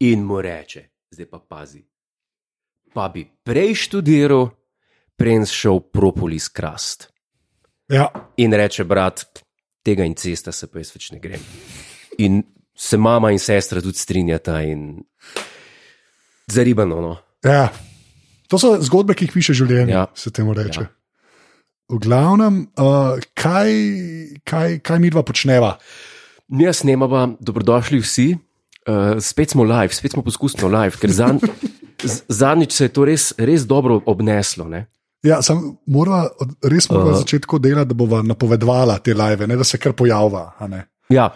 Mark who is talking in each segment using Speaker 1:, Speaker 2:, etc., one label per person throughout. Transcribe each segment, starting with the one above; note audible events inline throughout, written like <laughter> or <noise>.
Speaker 1: In mu reče, zdaj pa pazi. Pa bi prej študiral, preden si šel propolis krast.
Speaker 2: Ja.
Speaker 1: In reče, brat, tega incesta se pa jaz več ne grem. In se mama in sestra tudi strinjata in zaribano. No.
Speaker 2: Ja. To so zgodbe, ki jih piše življenje, ja.
Speaker 1: Ja.
Speaker 2: se temu reče. Ja. V glavnem, uh, kaj, kaj, kaj mi dva počneva?
Speaker 1: Mi snemava, No, dobrodošli vsi, uh, spet smo live, spet smo poskusno live, ker zan, z- zadnjič se je to res, res dobro obneslo. Ne?
Speaker 2: Ja, sam morava, od- res moramo uh.
Speaker 1: Uh.
Speaker 2: začeti tako delati, da bova napovedovala te live, ne da se kar pojavlja. a ne.
Speaker 1: Ja,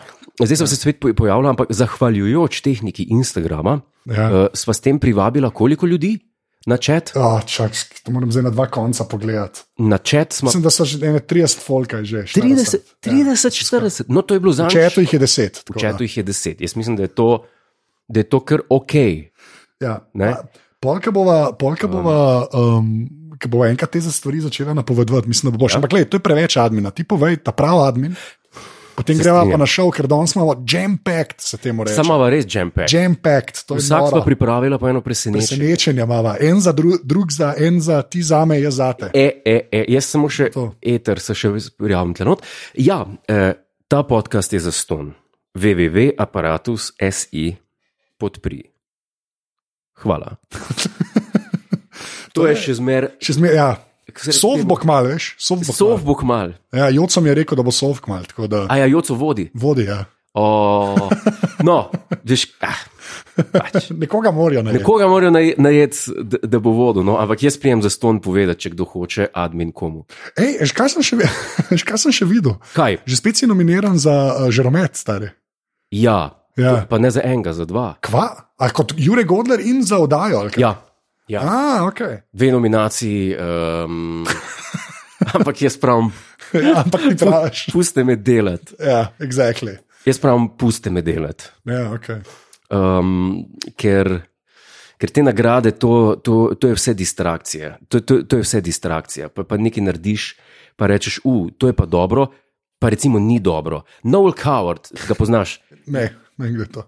Speaker 1: zdaj sem se spet poj- pojavila, ampak zahvaljujoč tehniki Instagrama
Speaker 2: Ja.
Speaker 1: uh, sva s tem privabila koliko ljudi na čat.
Speaker 2: Oh, čak, to moram zdaj na dva konca pogledati.
Speaker 1: Na čat smo
Speaker 2: Mislim, da so že ene 30 folka, že
Speaker 1: 30,
Speaker 2: 40.
Speaker 1: 30 40, Ja. no to je bilo
Speaker 2: Ja.
Speaker 1: zadnjič.
Speaker 2: Če to jih je 10.
Speaker 1: V četu jih je deset. Jaz mislim, da je to, da je to kar ok.
Speaker 2: Ja.
Speaker 1: Ne?
Speaker 2: A, Polka bova, polka bova, um, ki bo enkrat te za stvari začela napovedovati, mislim, da bo boš. Ja. Ampak, gledaj, to je preveč admina, ti povej, ta pravi admin. Potem
Speaker 1: Se
Speaker 2: greva pa
Speaker 1: strinjam.
Speaker 2: na šov, ker danes imamo jam-packed, se temu reče.
Speaker 1: Sama res džempe.
Speaker 2: Jam-packed, to je
Speaker 1: Vsak
Speaker 2: noro.
Speaker 1: smo pripravila po eno presenečenje.
Speaker 2: Presenečenja imamo, en za dru, drug, za en za ti, za me, jaz za te.
Speaker 1: E, e, e, jaz samo še
Speaker 2: To.
Speaker 1: eter, se še prijavim tlenot. Ja, eh, ta podcast je za ston. www.apparatus.si podpri.
Speaker 2: <laughs>
Speaker 1: Hvala. To je še zmer.
Speaker 2: Še zmeraj, ja. Sov bo kmal, veš, sov bo
Speaker 1: Sov
Speaker 2: kmal.
Speaker 1: bo kmal.
Speaker 2: Ja, Jocom je rekel, da bo sov kmal, tako da
Speaker 1: A ja, joco vodi.
Speaker 2: vodi. Ja.
Speaker 1: O, no, veš, ah, pač.
Speaker 2: Nekoga morajo najti.
Speaker 1: Nekoga morajo naj- najeti, da, da bo vodil, no? ampak jaz prijem za ston povedati, če kdo hoče, admin komu.
Speaker 2: Ej, veš, kaj sem še, ve- <laughs> veš, kaj sem še videl?
Speaker 1: Kaj?
Speaker 2: Že spet si nominiran za uh, žaromet, stari.
Speaker 1: Ja,
Speaker 2: Ja.
Speaker 1: pa ne za enega, za dva.
Speaker 2: Kva? A kot Jurek Godler in za oddajo. ali kaj?
Speaker 1: Ja, ja.
Speaker 2: A, ok.
Speaker 1: dve nominaciji, um, ampak jaz pravim,
Speaker 2: <laughs> Ja, ampak ti praviš.
Speaker 1: puste me delati.
Speaker 2: Ja, exactly.
Speaker 1: Jaz pravim, puste me delati.
Speaker 2: Ja, okay.
Speaker 1: Um, ker, ker te nagrade, to, to, to je vse distrakcija. To, to, to je vse distrakcija. Pa, pa nekaj narediš, pa rečeš, uh, to je pa dobro, pa recimo ni dobro. Noel Coward, ga poznaš.
Speaker 2: Ne, ne gre to.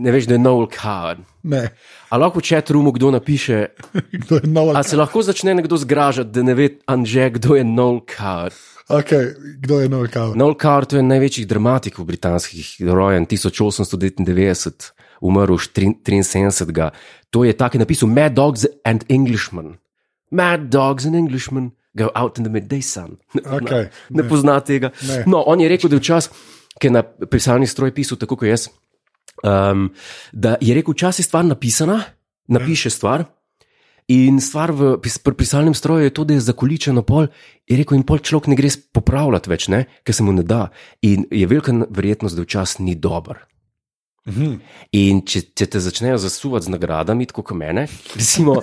Speaker 1: ne veš, da je Noel Coward.
Speaker 2: Ne. <laughs>
Speaker 1: Ali lahko če trumu kdo napiše,
Speaker 2: Kdo je nov?
Speaker 1: ali se lahko začne nekdo zgražati, da ne ve, Anže, kdo je Noel Coward.
Speaker 2: Okay, kdo je nov? Kav?
Speaker 1: Noel Coward je en največjih dramatikov britanskih, rojen 1899, umrl 73. To je tak, ki je napisal Mad Dogs and Englishmen. Mad Dogs and Englishmen go out in the midday sun.
Speaker 2: Okej,
Speaker 1: ne,
Speaker 2: ne.
Speaker 1: ne pozna tega.
Speaker 2: Ne.
Speaker 1: Ne. No, on je rekel, da je včasih, ki je na pisalni stroj pisal, tako kot jaz, um, da je rekel, včasih je stvar napisana, napiše stvar. In stvar v pis- pri pisalnem stroju je to, da je zakoličen pol, je rekel, in pol človek ne gre s- popravljati več, ne, ker se mu ne da. In je velika n- verjetnost, da včasih ni dober.
Speaker 2: Mhm.
Speaker 1: In če, če te začnejo zasuvati z nagradami, tako kot mene,
Speaker 2: <laughs>
Speaker 1: recimo,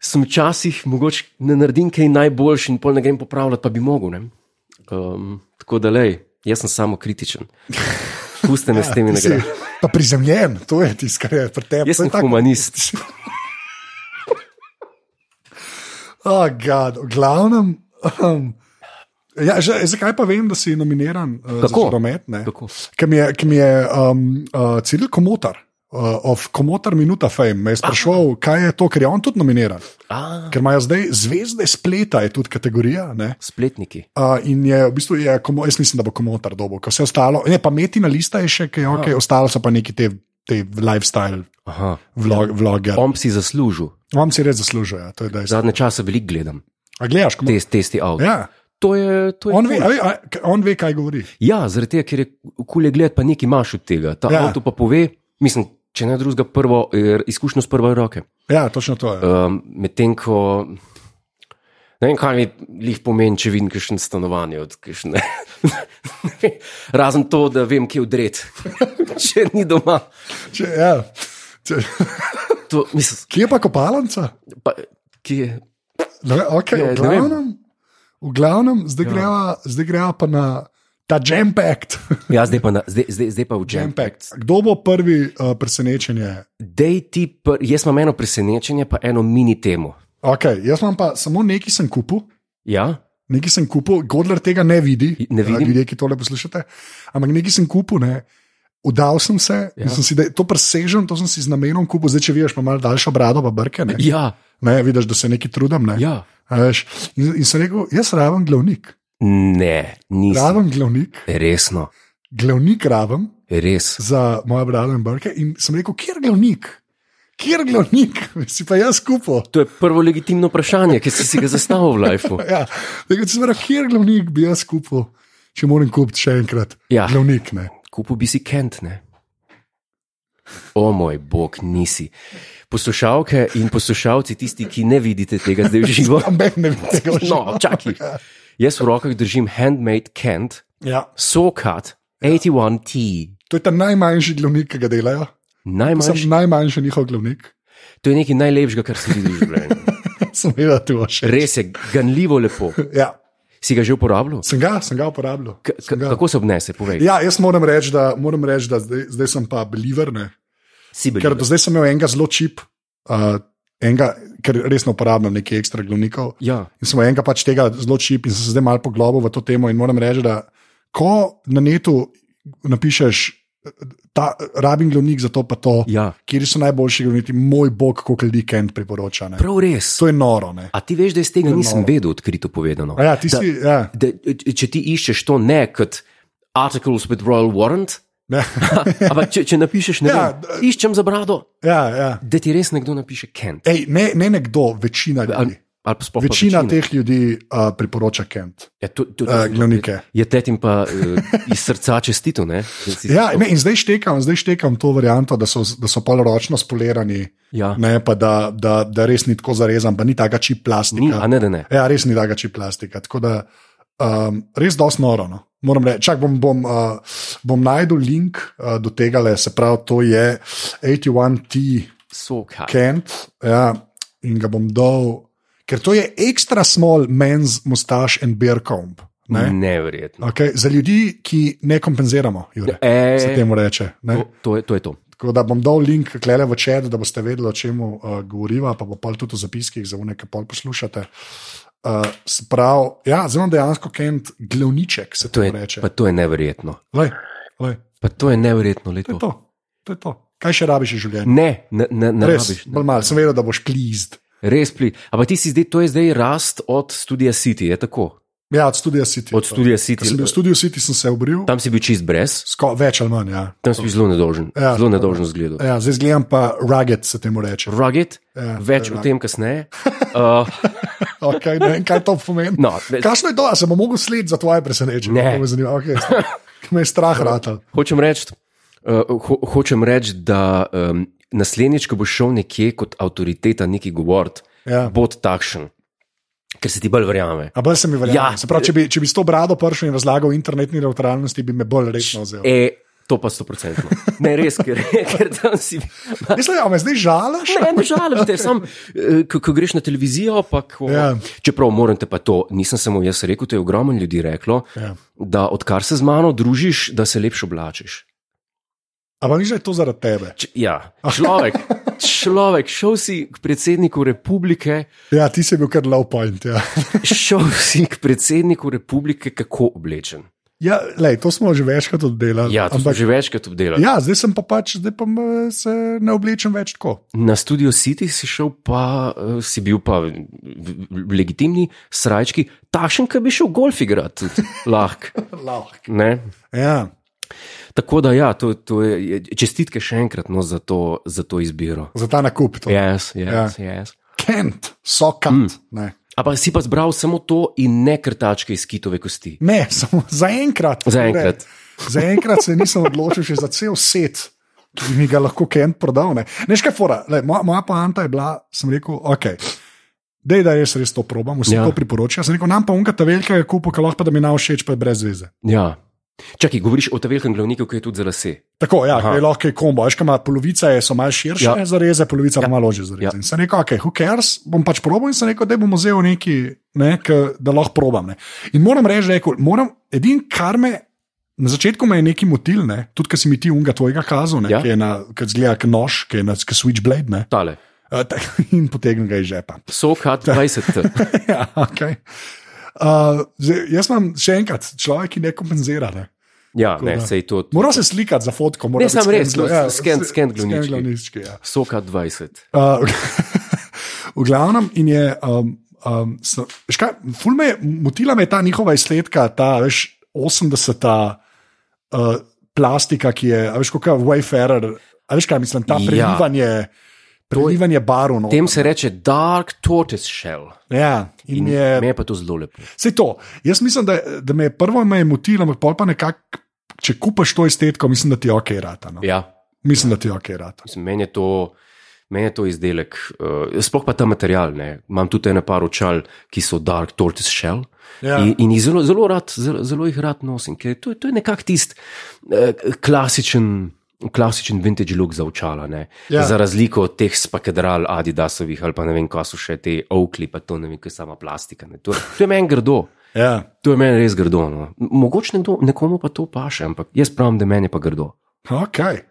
Speaker 1: sem včasih mogoče ne naredim kaj najboljši in pol ne grem popravljati, pa bi mogel. ne. Um, tako da le, jaz sem samo kritičen. Puste
Speaker 2: <laughs>
Speaker 1: me s temi
Speaker 2: Ja, Ti si
Speaker 1: nagradami.
Speaker 2: Pa prizemljen, to je tisto, kar je pri tebi.
Speaker 1: Jaz sem
Speaker 2: <laughs>
Speaker 1: humanist.
Speaker 2: Oh, God, v glavnem. <clears throat> Um, ja, že, zakaj pa vem, da si nominiran uh, za
Speaker 1: Kako?
Speaker 2: promet?
Speaker 1: Kako?
Speaker 2: Ki mi je, ki mi je um, uh, Ciril Komotar, uh, of Komotar Minuta Fame, me je sprašval, kaj je to, ker je on tudi nominiran.
Speaker 1: A,
Speaker 2: Ker imajo zdaj zvezde spleta, je tudi kategorija. Ne?
Speaker 1: spletniki.
Speaker 2: Uh, in je v bistvu, je, komo, jaz mislim, da bo komotar dobo, ker vse ostalo, ne, pa metina lista je še, ki je ok, ostalo so pa neki te, te lifestyle
Speaker 1: Aha.
Speaker 2: vlog, vloge.
Speaker 1: Om si zaslužil,
Speaker 2: Vam si res zaslužijo, ja, to je dejstvo.
Speaker 1: zadnje čase veliko gledam,
Speaker 2: A gledaš, komotar?
Speaker 1: test, testi avto.
Speaker 2: Ja,
Speaker 1: To je. To je
Speaker 2: on
Speaker 1: cool.
Speaker 2: ve, a ve, a, k- on ve, kaj govori.
Speaker 1: Ja, zaradi tega, ker je kul je gledati, pa nekaj imaš od tega. Ta
Speaker 2: Ja.
Speaker 1: ja. avto pa pove, mislim, če ne drugega, prvo, eh, izkušnjo s prve roke.
Speaker 2: Ja, točno to je.
Speaker 1: Um, Medtem ko. Ne vem, kaj mi jih pomeni, če vidim kakšno stanovanje. od kakšne- <laughs> Ne vem, Razen to, da vem, kje udret. <laughs> če ni doma.
Speaker 2: Če, ja. Če,
Speaker 1: To, mislim,
Speaker 2: kje je pa kopalnica?
Speaker 1: pa, ki je.
Speaker 2: Ne, ve- Okay,
Speaker 1: Je,
Speaker 2: v,
Speaker 1: ne
Speaker 2: glavnem, v glavnem, zdaj greva, zdaj greva pa na ta <laughs> jam-packed.
Speaker 1: Ja, zdaj pa, na, zdaj, zdaj, zdaj pa v džem.
Speaker 2: Kdo bo prvi uh, presenečenje?
Speaker 1: Dej ti, pr, jaz imam eno presenečenje, pa eno mini temo.
Speaker 2: Okay, jaz imam pa samo nekaj sem kupil.
Speaker 1: Ja?
Speaker 2: Nekaj sem kupil, Godler tega ne vidi, eh,
Speaker 1: Ne vidim.
Speaker 2: ljudje, ki tole poslušate. Ampak nekaj sem kupil, ne. Udal sem se ja. in sem si, da to presežem, to sem si z namenom kupil, zdaj če vidiš, ima malo daljšo brado, pa brke. Ne,
Speaker 1: Ja,
Speaker 2: ne vidiš, da se neki trudim. Ne.
Speaker 1: ja.
Speaker 2: A veš, In, in sem rekel, jaz raven glavnik,
Speaker 1: Ne, nisem.
Speaker 2: raven glavnik,
Speaker 1: Resno,
Speaker 2: glavnik raven
Speaker 1: res.
Speaker 2: za moje brado in brke. In sem rekel, kjer glavnik, kjer glavnik, <laughs> si pa jaz kupo.
Speaker 1: To je prvo legitimno vprašanje, ki si si ga zastavil v lifeu.
Speaker 2: Ja, rekel sem, rekel, kjer glavnik bi jaz kupo, če moram kupiti še enkrat.
Speaker 1: Ja.
Speaker 2: Glavnik, ne.
Speaker 1: Kupil bi si Kent, ne? O moj bog, nisi. Poslušalke in poslušalci, tisti, ki ne vidite tega
Speaker 2: <laughs>
Speaker 1: zdaj v živo.
Speaker 2: Ampak ne vem tega še.
Speaker 1: No, čakaj. Jaz v rokah držim handmade Kent,
Speaker 2: Ja.
Speaker 1: Sokat, 81T,
Speaker 2: To je ta najmanjši glavnik, ki ga delajo. Sem
Speaker 1: najmanjši.
Speaker 2: najmanjši njihov glavnik. <laughs>
Speaker 1: To je nekaj najlepšega, kar si videl v življenju.
Speaker 2: Seveda, tu še.
Speaker 1: Res je, ganljivo lepo.
Speaker 2: Ja,
Speaker 1: Si ga že uporabljal?
Speaker 2: sem ga, sem ga uporabljal.
Speaker 1: K
Speaker 2: Sem ga.
Speaker 1: kako se obnese, povej?
Speaker 2: Ja, jaz moram reči, da, moram reči, da zdaj, zdaj sem pa believer. Ne?
Speaker 1: Si bil.
Speaker 2: Ker do zdaj sem imel enega zelo čip, uh, enega, ker resno uporabljam nekaj ekstra glavnikov.
Speaker 1: Ja,
Speaker 2: In sem imel enega pač tega zelo čip in sem se zdaj malo poglobil v to temo. In moram reči, da ko na netu napišeš, ta rabim glavnik za to pa to,
Speaker 1: ja.
Speaker 2: kjer so najboljši glavniki, moj bog, koliko ljudi Kent priporoča. Ne?
Speaker 1: Prav res.
Speaker 2: To je noro. Ne?
Speaker 1: A ti veš, da jaz tega
Speaker 2: To je
Speaker 1: nisem
Speaker 2: noro.
Speaker 1: vedel, odkrito povedano.
Speaker 2: A Ja, ti si, ja.
Speaker 1: da, če ti iščeš to ne kot articles with royal warrant, <laughs>
Speaker 2: Ne.
Speaker 1: ampak če, če napišeš ne,
Speaker 2: Ja,
Speaker 1: ja, vem, iščem za brado,
Speaker 2: ja, ja.
Speaker 1: da ti res nekdo napiše Kent.
Speaker 2: Ej, ne, ne nekdo, večina ljudi.
Speaker 1: Ali, ali pa sploh pa
Speaker 2: Večina teh ljudi uh, priporoča Kent,
Speaker 1: ja, to, to,
Speaker 2: uh, glavnike.
Speaker 1: Je tetim pa uh, iz srca čestito, ne? Da si-
Speaker 2: Ja, ne, in zdaj štekam, zdaj štekam to varianto, da so, da so polročno spolirani,
Speaker 1: ja.
Speaker 2: ne, pa da, da, da res ni tako zarezan, pa ni taka čip plastika.
Speaker 1: Ni, a ne, da ne.
Speaker 2: Ja, res ni taka čip plastika. Tako da um, res dosti noro. No. Moram reči, čak bom, bom, uh, bom najdel link uh, do tega, le, se pravi, to je 81T
Speaker 1: So kaj.
Speaker 2: Kent ja, in ga bom dal, ker to je ekstra small men's mustache and beer comb.
Speaker 1: Mm.
Speaker 2: Ne?
Speaker 1: Neverjetno.
Speaker 2: Okay, za ljudi, ki ne kompenziramo, Jure, se
Speaker 1: E,
Speaker 2: temu reče. Ne?
Speaker 1: to, to, je, to je to.
Speaker 2: Tako da bom dal link, klele v čet, da boste vedeli, o čem uh, govoriva, pa bo pol tudi v zapiskih za unek, pol poslušate. Uh, Sprav, ja, zelo dejansko Kent glavniček se
Speaker 1: To
Speaker 2: temu
Speaker 1: je,
Speaker 2: reče.
Speaker 1: pa to je neverjetno.
Speaker 2: Lej, lej,
Speaker 1: Pa to je neverjetno
Speaker 2: to, je
Speaker 1: leto.
Speaker 2: to, to je to. Kaj še rabiš v življenju?
Speaker 1: Ne, ne, ne, ne
Speaker 2: Res,
Speaker 1: rabiš. Ne.
Speaker 2: bolj malo, sem vedel, da boš klizd.
Speaker 1: Res pli. Ampak ti si zdaj, to je zdaj rast od studia City, je tako?
Speaker 2: Ja, od studia City.
Speaker 1: Od studia City.
Speaker 2: Ko sem bil v studiu City, sem se obril,
Speaker 1: Tam si bil čist brez,
Speaker 2: Sko, več ali manj. Ja.
Speaker 1: tam si bil zelo nedožen,
Speaker 2: Ja.
Speaker 1: ja. zelo nedožen zgled.
Speaker 2: Ja, zdaj gledam pa rugged, se temu reče.
Speaker 1: Rugged,
Speaker 2: Ja,
Speaker 1: ja, več
Speaker 2: ja.
Speaker 1: o tem
Speaker 2: <laughs>
Speaker 1: kasneje. Uh,
Speaker 2: Okay, ne vem, kaj to pomeni.
Speaker 1: no, ne,
Speaker 2: Kakšno je to, a se bom mogel slediti za tvoje presenečenje?
Speaker 1: Ne.
Speaker 2: To me zanima. Okay. Me je strah, rata.
Speaker 1: hočem reči, uh, ho, hočem reči, da um, naslednjič, ko boš šel nekje kot avtoriteta, neki govor,
Speaker 2: Ja.
Speaker 1: bod takšen, ker se ti bolj verjame.
Speaker 2: A bolj se mi verjame.
Speaker 1: Ja.
Speaker 2: Ja. Se pravi, če bi, če bi s to brado prišel in razlagal o internetni neutralnosti, bi me bolj resno vzel.
Speaker 1: E, to pa sto procentno. Ne, res, ker, <laughs> ker tam si. Ja.
Speaker 2: Mislim, da me zdaj žalaš.
Speaker 1: Ne, ne žalim te, sam, ko, ko greš na televizijo. Pa, ko,
Speaker 2: Ja.
Speaker 1: ja. Čeprav moram te pa to, nisem samo jaz rekel, to je ogromno ljudi reklo,
Speaker 2: Ja.
Speaker 1: da odkar se z mano družiš, da se lepše oblačiš.
Speaker 2: Ampak ni že to zaradi tebe.
Speaker 1: Č ja, <laughs> človek, človek, šel si k predsedniku republike,
Speaker 2: Ja, ti si bil kar low point. Ja,
Speaker 1: šel si k predsedniku republike, kako oblečen.
Speaker 2: ja lej, to smo že večkrat oddelali.
Speaker 1: Ja, to Ampak,
Speaker 2: ampak,
Speaker 1: že večkrat obdelal. Ja.
Speaker 2: ja zdaj sem pa pač, zdaj pa me- se ne oblečem več tako.
Speaker 1: Na studio City si šel, pa eh, si bil pa v- v- v- legitimni srajčki, tašen, ki bi šel golf igrati, tudi lahko.
Speaker 2: Lahko.
Speaker 1: ne.
Speaker 2: Ja.
Speaker 1: Tako da, ja, to, to je, je- čestitke še enkrat no, za, to, za to izbiro.
Speaker 2: Za ta nakup. to.
Speaker 1: Yes, yes, ja. yes.
Speaker 2: Kent, sokant. Mm. Ne.
Speaker 1: Ampak si pa zbral samo to in ne krtačke iz kitove kosti.
Speaker 2: ne, samo zaenkrat.
Speaker 1: Zaenkrat.
Speaker 2: Ne. Zaenkrat se nisem odločil še za cel set, ki bi mi ga lahko Kent prodal. Ne, ne škaj fora. Le, moja, moja poanta je bila, sem rekel, ok. Dej, da jaz res to probam, vsi
Speaker 1: Ja.
Speaker 2: ja. to priporočajo. Sem rekel, nam pa unka ta velika je kupo, ki lahko pa da mi na všeč, pa je brez veze.
Speaker 1: Ja. Čakaj, govoriš o tem velikem glavniku, ki je tudi za lase.
Speaker 2: Tako, ja,
Speaker 1: Aha.
Speaker 2: je lahko je kombo, veš, kaj ima polovica, je, so malo širše ja.
Speaker 1: Ja.
Speaker 2: zareze, polovica ja. pa malo ožje zareze.
Speaker 1: Ja.
Speaker 2: Ja. In sem rekel, ok, who cares, bom pač probo in sem rekel, da bom vzel neki, ne, k, da lahko probam. Ne. In moram reči, da je rekel, moram, edin kar me. Na začetku me je neki motil, ne? tudi ko si mi ti unga tvojega kazal, ne,
Speaker 1: Ja.
Speaker 2: ki je na, ki zgleda kot nož, ki je na kot switchblade, ne?
Speaker 1: Tale,
Speaker 2: Uh, <laughs> in potegnil ga iz žepa. <laughs>
Speaker 1: sokat 20.
Speaker 2: ja, okay. uh, zdaj, jaz imam še enkrat, človek, ki ne kompenzira. Ne?
Speaker 1: Ja,
Speaker 2: Tako
Speaker 1: ne,
Speaker 2: da.
Speaker 1: sej to.
Speaker 2: Moral se slikati za fotko, moral
Speaker 1: Ne, samo res, sken- sken glavnički.
Speaker 2: glavnički. Ja.
Speaker 1: Soka 20.
Speaker 2: Uh, <laughs> v glavnem, in je. Um, um, so- veš kaj, ful me je, motila me je ta njihova izsledka, ta veš, 80-ta uh, plastika, ki je, a veš, kot Wayfarer, a veš kaj mislim, ta
Speaker 1: Ja.
Speaker 2: prelivanje, prelivanje barov. no.
Speaker 1: Tem se reče Dark Tortoise Shell.
Speaker 2: Ja, in
Speaker 1: In
Speaker 2: je,
Speaker 1: me je pa to zelo lepo.
Speaker 2: vse to. Jaz mislim, da, da me je prvo me je motilo, ampak pol pa nekako, če kupaš to estetiko, mislim, da ti je ok, rata. No.
Speaker 1: Ja,
Speaker 2: Mislim, da ti je ok, rata.
Speaker 1: Mislim, meni, je to, meni je to izdelek, uh, sploh pa ta material. Ne. Imam tudi eno par očal, ki so Dark Tortoise Shell. Ja.
Speaker 2: Ja.
Speaker 1: In, in jih zelo, zelo, rad, zelo, zelo jih rad nosim, ker to, je- to je nekako tisti uh, klasičen. Klasičen vintage look za očala, ne.
Speaker 2: Ja.
Speaker 1: ja. za razliko od teh spakadral, Adidasovih ali pa ne vem, kaj so še te Oakley, pa to ne vem, kaj je sama plastika. ne. To, to je meni grdo.
Speaker 2: Ja.
Speaker 1: To je meni res grdo. No. Mogoče nekdo, nekomu pa to paše, ampak jaz pravim, da meni je pa grdo.
Speaker 2: Okay.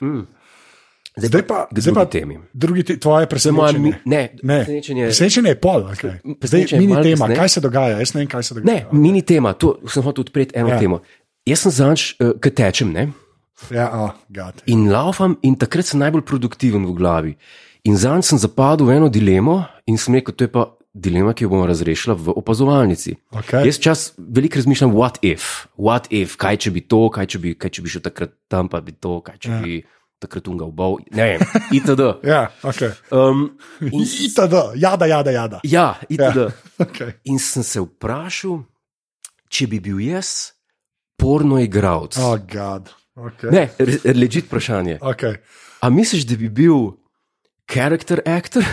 Speaker 1: Zdaj,
Speaker 2: Zdaj pa,
Speaker 1: k
Speaker 2: zdaj pa
Speaker 1: drugi temi.
Speaker 2: Drugi te, tvoje
Speaker 1: Zdaj moja mi,
Speaker 2: presenečenje.
Speaker 1: ne,
Speaker 2: Ne.
Speaker 1: presenečenje.
Speaker 2: Presenečenje je pol. Okay. Zdaj
Speaker 1: Presenečenje je
Speaker 2: mini
Speaker 1: malo
Speaker 2: tema,
Speaker 1: kasneje.
Speaker 2: kaj se dogaja, jaz ne vem, kaj se dogaja.
Speaker 1: Ne, mini tema, tu sem hotel odpreti eno
Speaker 2: Ja.
Speaker 1: ja. temo. Jaz sem zanč, ki tečem ne?
Speaker 2: Ja, oh, God.
Speaker 1: in laufam, in takrat sem najbolj produktiven v glavi. In zanj sem zapadel v eno dilemo in sem rekel, to je pa dilema, ki jo bom razrešila v opazovalnici.
Speaker 2: Okay.
Speaker 1: Jaz čas veliko razmišljam, what if, what if, kaj če bi to, kaj če bi, kaj če bi šel takrat tam, pa bi to, kaj če ja. bi takrat unga ubal, ne vem, <laughs> itd.
Speaker 2: Ja, okay.
Speaker 1: Um, in,
Speaker 2: Itd., jada, jada, jada.
Speaker 1: ja, itd. Ja.
Speaker 2: Okay.
Speaker 1: In sem se vprašal, če bi bil jaz porno igralec.
Speaker 2: Oh, God. Okay.
Speaker 1: Ne, ležite vprašanje.
Speaker 2: Okay.
Speaker 1: A misliš, da bi bil character actor?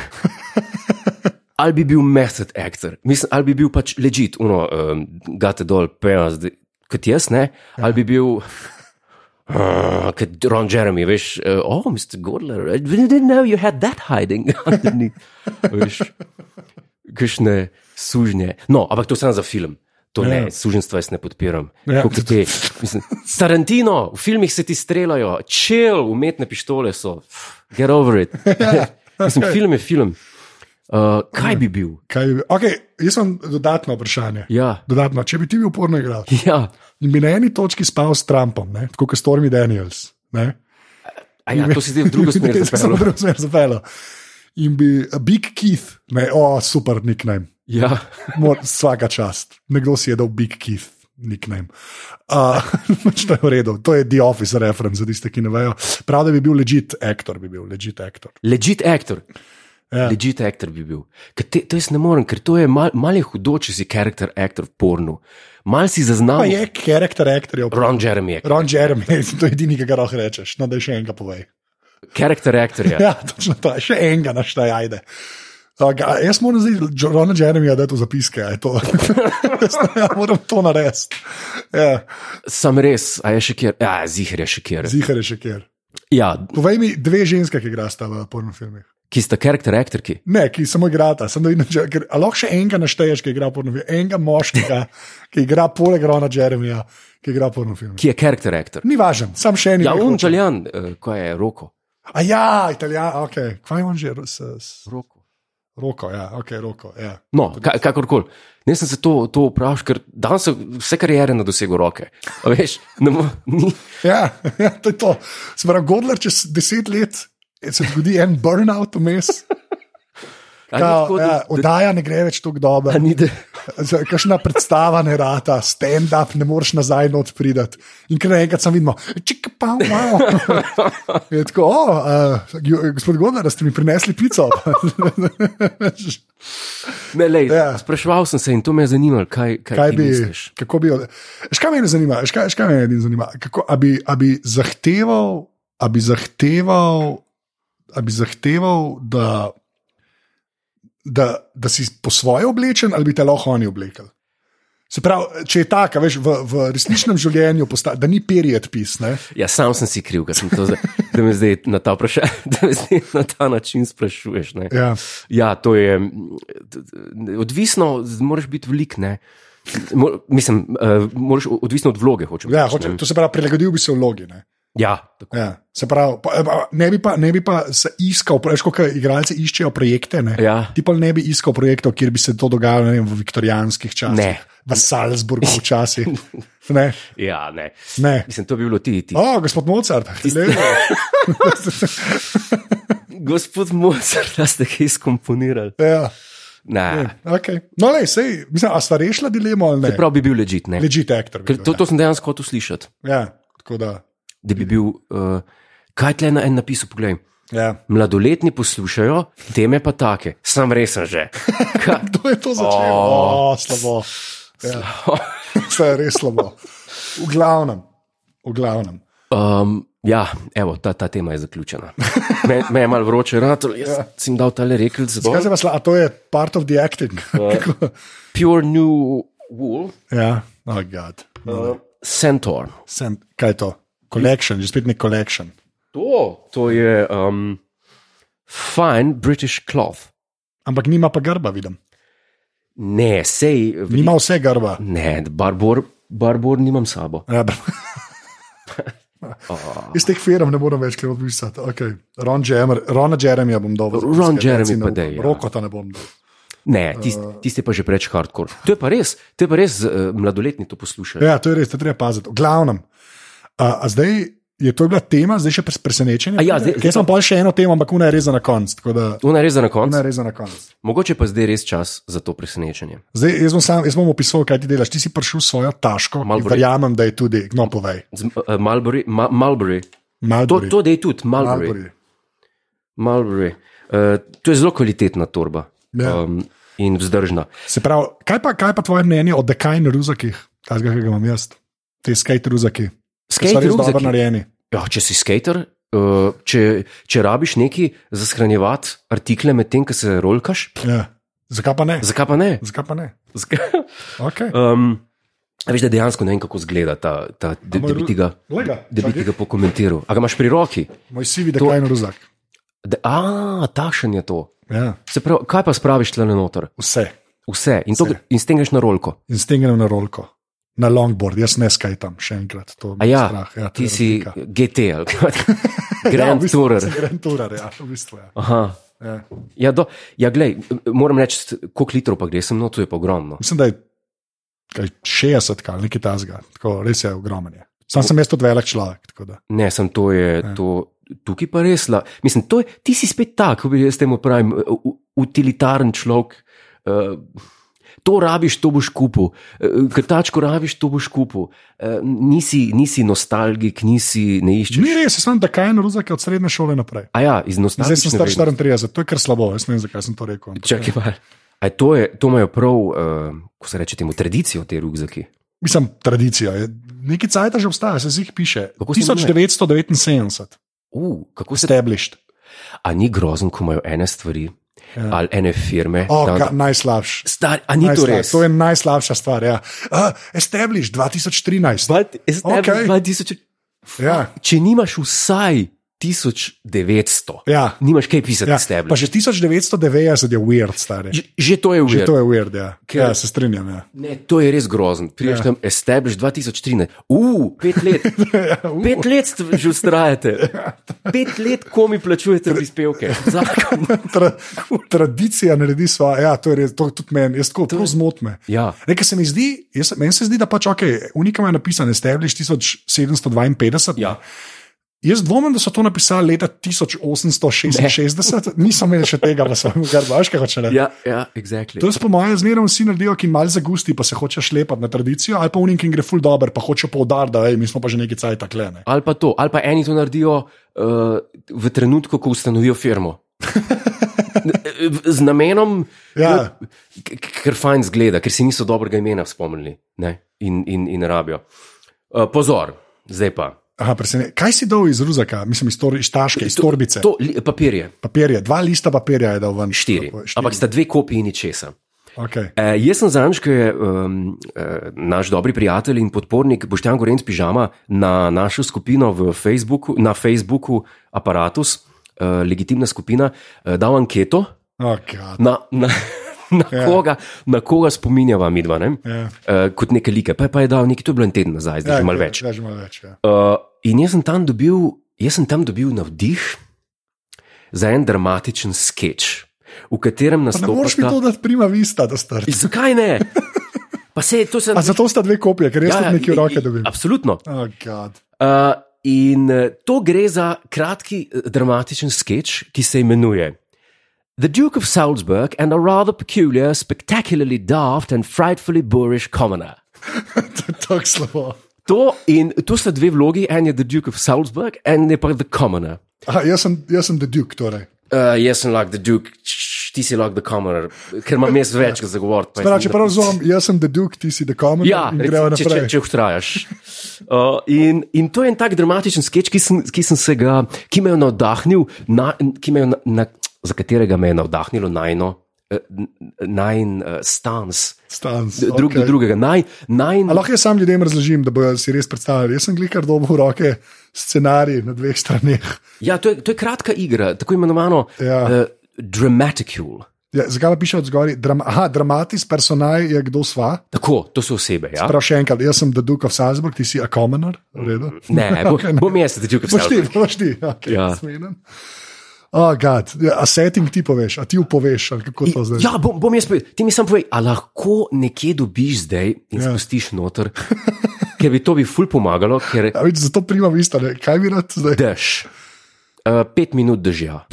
Speaker 1: Ali bi bil method actor, Mislim, ali bi bil pač ležit, uno, um, gate dol, penas, kot jaz, ne? ali bi bil. Uh, kot Ron Jeremy, veš, uh, oh, Mr. Godler, I didn't know you had that hiding. <laughs> underneath." veš, kakšne sužnje. No, ampak to sem za film. To ne,
Speaker 2: Ja.
Speaker 1: yeah. suženstva jaz ne podpiram.
Speaker 2: Ja.
Speaker 1: Yeah. Te, mislim, Tarantino, v filmih se ti streljajo, čil, umetne pištole so, Pff, get over
Speaker 2: <laughs>
Speaker 1: it. mislim, film je film. Uh, kaj bi bil?
Speaker 2: Kaj bi- Okay, jaz imam dodatno vprašanje.
Speaker 1: Ja,
Speaker 2: Dodatno, če bi ti bil porno igralec
Speaker 1: ja.
Speaker 2: in bi na eni točki spal s Trumpom, ne? tako kot Stormy Daniels. Ne?
Speaker 1: A ja, to si zdaj v drugo
Speaker 2: <laughs>
Speaker 1: smer
Speaker 2: Jaz sem
Speaker 1: zapeljal.
Speaker 2: v drugo smer zapeljal. In bi eh, Big Keith, ne, o, oh, super nickname.
Speaker 1: Ja,
Speaker 2: Mor, vsaka čast. Nekdo si je dal Big Keith, nickname. Uh, <laughs> pač to je v redu, to je The Office reference za tiste, ki ne vejo. Prav, da bi bil legit aktor, bi bil legit aktor.
Speaker 1: legit actor.
Speaker 2: Ja.
Speaker 1: Ja. Legit actor bi bil. Ker Te, to jaz ne morem, ker to je mal, mal je hudo, če si karakter aktor v pornu. Mal si
Speaker 2: Pa
Speaker 1: zaznal,
Speaker 2: je karakter aktorjev.
Speaker 1: Ron Jeremy je
Speaker 2: Ron Jeremy, <laughs> to je edini, ki ga lahko rečeš. No, da še enega povej.
Speaker 1: karakter aktor. Ja.
Speaker 2: Ja, <laughs> točno to, še enega naštaj, ajde. Uh, ga- jaz moram zdaj, Ron Jeremy, da je to zapiske, a je to. <laughs> Jaz ne- ja, moram to narediti. Ja,
Speaker 1: Sam res, a je še kjer, ja, zihar je še kjer.
Speaker 2: Zihar je še kjer.
Speaker 1: Ja,
Speaker 2: Povej mi dve ženske, ki igrata v pornofilmih.
Speaker 1: ki sta karakter aktorki.
Speaker 2: Ne, ki samo igrata, sem da vidim, ker a lahko še enega našteješ, ki igra pornofilm, enega moškega, ki igra poleg Rona Jeremija, ki igra pornofilm.
Speaker 1: Ki je karakter aktor.
Speaker 2: Ni važen, sam še en.
Speaker 1: Ja, on čeljan, ko je roko.
Speaker 2: A ja, italijan, ok, kaj je on že, s, s
Speaker 1: roko.
Speaker 2: roko, ja, ok, roko, ja.
Speaker 1: No, ka, kakorkoli. Ne sem se to, to vprašal, ker danes so vse karijere na dosegu roke. A Veš, ne, mo- ni,
Speaker 2: Ja, <laughs> ja to je to. Smra Godler, čez deset let eh, se zgodi en burnout vmes,
Speaker 1: a ni
Speaker 2: kao,
Speaker 1: tako, da-
Speaker 2: ja, oddaja ne gre več tako dobro.
Speaker 1: a ni, da,
Speaker 2: Z- Kakšna predstava ne rata, stand-up, ne moreš nazaj not pridati. In ker naenkrat sem videl, čik pa wow.
Speaker 1: <laughs>
Speaker 2: Je tako, o, uh, gospod Gondar, ste mi prinesli
Speaker 1: <laughs>
Speaker 2: pico.
Speaker 1: ne, lej,
Speaker 2: Ja.
Speaker 1: ja. Spraševal sem se in to me je zanimalo, kaj, kaj,
Speaker 2: Kaj
Speaker 1: kaj
Speaker 2: bi,
Speaker 1: misliš.
Speaker 2: kako bi, škaj me ne zanima, škaj, škaj me ne zanima, kako, a bi, a bi zahteval, a bi zahteval, a bi zahteval, da, da, da si po svoje oblečen ali bi te lahko oni oblekli. Se pravi, če je tako, veš, v, v resničnem življenju, posta, da ni period pis, ne?
Speaker 1: Ja, sam sem si kriv, ker sem to zdaj, da me zdaj na ta, vpraša, <laughs> da me zdaj na ta način sprašuješ. Ne.
Speaker 2: Ja.
Speaker 1: Ja, to je mm, t- t- odvisno, z- moraš biti velik. Ne? Mo- Mislim, uh, moraš, o- odvisno od vloge. Hočem,
Speaker 2: Ja,
Speaker 1: reči,
Speaker 2: hoče,
Speaker 1: ne.
Speaker 2: to se pravi, prilagodil bi se vlogi. Ne?
Speaker 1: Ja, tako.
Speaker 2: Ja, se pravi, pa, pa- ne bi pa, ne bi pa se iskal, veš, kot igralci iščejo projekte. Ne?
Speaker 1: Ja.
Speaker 2: Ti pa ne bi iskal projektov, kjer bi se to dogajalo ne vem, v viktorijanskih časih,
Speaker 1: Ne.
Speaker 2: v Salzburgu
Speaker 1: <laughs>
Speaker 2: včasih. Ne,
Speaker 1: ja, ne.
Speaker 2: ne.
Speaker 1: Mislim, to bi bilo ti. ti.
Speaker 2: O, gospod
Speaker 1: <laughs>
Speaker 2: Mozart, lepo.
Speaker 1: Gospod Mozart, da ste kaj skomponirali.
Speaker 2: ja,
Speaker 1: Ne.
Speaker 2: okay. No, le, sej, mislim, a sta rešila dilemo ali ne?
Speaker 1: Prav bi bil ležit, ne.
Speaker 2: Legit actor. bi
Speaker 1: Ker
Speaker 2: bil,
Speaker 1: to,
Speaker 2: ja.
Speaker 1: to sem dejansko hotel slišati.
Speaker 2: Ja, tako da.
Speaker 1: Da bi bil, uh, kaj tle na en napisu, poglej.
Speaker 2: Ja. <laughs>
Speaker 1: Mladoletni poslušajo, teme pa take, sem resen že.
Speaker 2: <laughs>
Speaker 1: Ka-
Speaker 2: Kdo je to začel?
Speaker 1: O.
Speaker 2: Oh. O, slabo. Ja. <laughs> To je res slabo. V glavnem, v glavnem.
Speaker 1: Um, ja, evo, ta, ta tema je zaključena. Me, me je malo vroče, rator, jaz ja. sem dal tale rekel za
Speaker 2: Kaj
Speaker 1: to.
Speaker 2: se vas, a to je part of the acting. Kako-
Speaker 1: Pure New Wool,
Speaker 2: <laughs> ja, oh, God.
Speaker 1: uh, Centaur.
Speaker 2: Sem, kaj je to? Collection, že spet nek collection.
Speaker 1: To, to je um, fine British cloth.
Speaker 2: Ampak nima pa grba, vidim.
Speaker 1: Ne, sej,
Speaker 2: Nima vse grba.
Speaker 1: ne, barbor, barbor nimam s sabo.
Speaker 2: Ja,
Speaker 1: <laughs>
Speaker 2: br-
Speaker 1: Oh.
Speaker 2: Iz teh firm ne moram več kaj odpisati. Okay. Ron Jeremy, Rona Jeremyja bom dal. v
Speaker 1: Ron
Speaker 2: zapiske,
Speaker 1: Jeremy
Speaker 2: da si ne
Speaker 1: pa
Speaker 2: upam.
Speaker 1: daj, ja.
Speaker 2: Rokota ne bom dal.
Speaker 1: Ne, tiste, tiste pa že preveč hardcore. To je pa res, to je pa res uh, mladoletni to poslušajo.
Speaker 2: Ja, to je res, to treba paziti. V glavnem. A, a zdaj je to bila tema, zdaj še pres- presenečenje.
Speaker 1: A ja, zdaj-
Speaker 2: Jaz sem pa še eno temo, ampak una je res za na konc. tako da-
Speaker 1: To je res za na konec.
Speaker 2: Ona je res za na konc.
Speaker 1: Mogoče pa zdaj res čas za to presenečenje.
Speaker 2: Zdaj, jaz bom, sam, jaz bom opisal, kaj ti delaš. Ti si prišel s svojo taško,
Speaker 1: Malo
Speaker 2: in
Speaker 1: bolj-
Speaker 2: verjamem, da je tudi, no, povej.
Speaker 1: Z, uh, Malbury, ma, Malbury.
Speaker 2: Malo
Speaker 1: To, to da je tudi Malbury. Malbury. Uh, to je zelo kvalitetna torba
Speaker 2: Ja.
Speaker 1: um, in vzdržna.
Speaker 2: Se pravi, kaj pa, kaj pa tvoje mnenje o dekajn ruzakih, takega, ki ga imam jaz, te skate ruzaki, ki so
Speaker 1: Skate
Speaker 2: res dobro
Speaker 1: ruzaki.
Speaker 2: narejeni.
Speaker 1: Ja, če si skater, uh, če, če rabiš neki za shranjevati artikle medtem, ko se rolkaš,
Speaker 2: Ja. Zakaj pa ne?
Speaker 1: zakaj pa ne?
Speaker 2: Zakaj pa ne?
Speaker 1: Zakaj?
Speaker 2: Okay.
Speaker 1: Um, a veš, da dejansko ne vem, kako izgleda ta, ta da,
Speaker 2: moj
Speaker 1: da bi
Speaker 2: ru-
Speaker 1: ti ga,
Speaker 2: Glej ga,
Speaker 1: da bi
Speaker 2: čakaj.
Speaker 1: ti ga pokomentiral. A ga imaš pri roki?
Speaker 2: Moj sivi dekajn ruzak.
Speaker 1: Da, a, takšen je to.
Speaker 2: Ja.
Speaker 1: Se pravi, kaj pa spraviš tle noter?
Speaker 2: Vse.
Speaker 1: Vse in, to,
Speaker 2: Vse.
Speaker 1: in s tem greš na rolko.
Speaker 2: In s tem grem na rolko. Na longboard, jaz ne skajtam, še enkrat. To
Speaker 1: A
Speaker 2: mi je
Speaker 1: ja,
Speaker 2: strah.
Speaker 1: ja
Speaker 2: Ja,
Speaker 1: ti si GT
Speaker 2: <laughs>
Speaker 1: ali kaj.
Speaker 2: ja,
Speaker 1: Grand ja,
Speaker 2: v bistvu,
Speaker 1: Tourer.
Speaker 2: sem Grand Tourer, ja, v bistvu. Ja.
Speaker 1: Aha.
Speaker 2: Ja.
Speaker 1: Ja, do, ja, glej, moram reči, koliko litrov pa gre sem, no to je pa ogromno.
Speaker 2: Mislim, da je kaj, 60 ali nekaj tasga, tako res je ogromen. Je. Sam sem jaz tudi velik človek. tako da.
Speaker 1: Ne, sem to je,
Speaker 2: Ja.
Speaker 1: to, tukaj pa res. La, mislim, to je, ti si spet tak, kako bi jaz temu pravim, u- u- utilitaren človek. Uh, to rabiš, to boš kupil, uh, krtačko rabiš, to boš kupil. Uh, nisi, nisi nostalgik, nisi ne iščeš.
Speaker 2: Ni res, jaz sem da kaj na ruzak od srednje šole naprej.
Speaker 1: A ja, iz
Speaker 2: In Zdaj sem
Speaker 1: nostalgike.
Speaker 2: star 34, to je kar slabo, jaz ne vem, zakaj sem to rekel. ampak-
Speaker 1: Čakaj, pa. Ja. A je to, je, to imajo prav, uh, ko se reče temu, tradicijo te rugzaki.
Speaker 2: Mislim, tradicija. je. Neki cajt že obstaja, se z jih piše.
Speaker 1: Kako se imenuje?
Speaker 2: 1979,
Speaker 1: Uh, kako se te?
Speaker 2: established.
Speaker 1: A ni grozen, ko imajo ene stvari ja. ali ene firme.
Speaker 2: Oh,
Speaker 1: da-
Speaker 2: ga, najslabši.
Speaker 1: Star, a ni to
Speaker 2: Najslabši,
Speaker 1: res?
Speaker 2: to je najslabša stvar. Ja. Uh, established 2013.
Speaker 1: Dva- jaz ne bi-
Speaker 2: Okej.
Speaker 1: 2000,
Speaker 2: Ja.
Speaker 1: če nimaš vsaj 1900,
Speaker 2: Ja.
Speaker 1: nimaš kaj pisati
Speaker 2: Ja.
Speaker 1: ja, s tebe.
Speaker 2: Pa že 1990 je weird, stari.
Speaker 1: Že, že to je
Speaker 2: Že
Speaker 1: uvedeno.
Speaker 2: to je weird, ja.
Speaker 1: Ker-
Speaker 2: ja se strinjam. Ja. <laughs>
Speaker 1: Ne, to je res grozen. Priješ ja. tam, establish 2013, uf, pet
Speaker 2: <laughs>
Speaker 1: let.
Speaker 2: Ja,
Speaker 1: Pet let st- že ustrajate, pet let, ko mi plačujete
Speaker 2: <laughs>
Speaker 1: prispevke. Zakon.
Speaker 2: Tra, tradicija naredi svoje, ja, to je res, to tudi meni, jaz tako zelo zmotme.
Speaker 1: Ja.
Speaker 2: Nekaj se mi zdi, jaz, meni se zdi, da pač ok, unikam je napisan, establish 1752.
Speaker 1: Ja.
Speaker 2: Jaz dvomim, da so to napisali leta
Speaker 1: <laughs>
Speaker 2: 1866, nisem imel še tega v <laughs> svojem grbu, veš kaj hoče reči.
Speaker 1: Ja, ja, exactly.
Speaker 2: To je po mojem zmerno vsi naredijo, ki mal zagusti, pa se hoče šlepati na tradicijo, ali pa unik, ki jim gre ful dober, pa hoče poudariti, da ej, mi smo pa že nekaj caj takle. Ne.
Speaker 1: Ali pa to, ali pa eni to naredijo uh, v trenutku, ko ustanovijo firmo. Z namenom,
Speaker 2: Ja.
Speaker 1: k- k- ker fajn zgleda, ker si niso dobrega imena spomnili ne? in, in, in rabijo. Uh, pozor, zdaj pa.
Speaker 2: Aha, presene. Kaj si dal iz ruzaka, mislim iz, tor, iz taške, iz torbice?
Speaker 1: To, li, papirje,
Speaker 2: Papirje, dva lista papirja je dal ven.
Speaker 1: štiri. Ampak sta dve kopiji ničesa.
Speaker 2: Okay.
Speaker 1: E, jaz sem zadnjič, ko je um, e, naš dobri prijatelj in podpornik Boštjan Gorenc Pižama na našo skupino v Facebooku, na Facebooku Apparatus, e, legitimna skupina, e, dal anketo
Speaker 2: Oh, God.
Speaker 1: na, na, <laughs> na,
Speaker 2: Ja.
Speaker 1: yeah. koga, na koga spominjava midva, ne? eh,
Speaker 2: Ja.
Speaker 1: e, kot neke like. Pa, je- pa je dal nekaj, to je bilo en teden nazaj, zdaj
Speaker 2: Ja,
Speaker 1: že malo
Speaker 2: ja,
Speaker 1: več.
Speaker 2: Ja, že malo več ja.
Speaker 1: Uh, In jaz sem tam dobil, jaz sem tam dobil navdih za en dramatičen sketch, v katerem
Speaker 2: Pa ne moreš mi
Speaker 1: nastopata.
Speaker 2: to dati prima vista, da starš.
Speaker 1: Zakaj
Speaker 2: <laughs>
Speaker 1: ne? Pa se to se
Speaker 2: A zato sta dve kopije, ker jaz ja, tudi nekaj v roke dobim.
Speaker 1: Absolutno.
Speaker 2: Oh, God. <laughs>
Speaker 1: Uh, in eh, to gre za kratki eh, dramatičen sketch, ki se imenuje The Duke of Salzburg and a rather peculiar, spectacularly daft and frightfully boorish commoner.
Speaker 2: to je tako slabo.
Speaker 1: To, in to sta dve vlogi, en je The Duke of Salzburg, en je pa The Commoner.
Speaker 2: Aha, jaz, sem, jaz sem The Duke, torej.
Speaker 1: Uh, jaz sem lahko The Duke, čš, ti si lahko The Commoner, ker imam jaz
Speaker 2: Ja.
Speaker 1: več za govor.
Speaker 2: Prav, če prav razumem, jaz sem The Duke, ti si The Common.
Speaker 1: Ja,
Speaker 2: in gremo
Speaker 1: recimo, če, če,
Speaker 2: naprej.
Speaker 1: če ustrajaš. Uh, in, in to je en tak dramatičen sketch, ki sem, ki sem se ga, ki me je navdahnil, na, ki me je na, na, za katerega me je navdahnilo najno, eh, n- najn uh, stans,
Speaker 2: Stans,
Speaker 1: drug okay. do
Speaker 2: okej.
Speaker 1: drugega, naj,
Speaker 2: A
Speaker 1: najn.
Speaker 2: Lahko jaz sam ljudem razložim, da bojo si res predstavljali. Jaz sem glikar dobo v roke scenarij na dveh straneh.
Speaker 1: Ja, to je, to je kratka igra, tako imenovano
Speaker 2: Ja.
Speaker 1: uh, dramaticule.
Speaker 2: Ja, zakaj pa piše od zgori? Dram Aha, dramatis personaj je kdo sva.
Speaker 1: Tako, to so osebe. Ja?
Speaker 2: Prav še enkrat, jaz sem The Duke of Salzburg, ti si a commoner, v redu.
Speaker 1: Ne,
Speaker 2: <laughs>
Speaker 1: bo,
Speaker 2: Okej, ne.
Speaker 1: bom jaz, da ti
Speaker 2: Boš ti,
Speaker 1: ukvarjam.
Speaker 2: boš ti, okay,
Speaker 1: Ja.
Speaker 2: ja. Oh, God. Ja, a setting ti poveš, a ti upoveš, ali kako to zdaj?
Speaker 1: Ja, bom, bom jaz povedal. Ti mi sam povej, ali lahko nekje dobiš zdaj in ja.
Speaker 2: Ja.
Speaker 1: spustiš noter, <laughs> ker bi to bi ful pomagalo, ker
Speaker 2: A več, zato primam isto, ne? kaj bi rad zdaj?
Speaker 1: dež. Uh, pet minut dežja.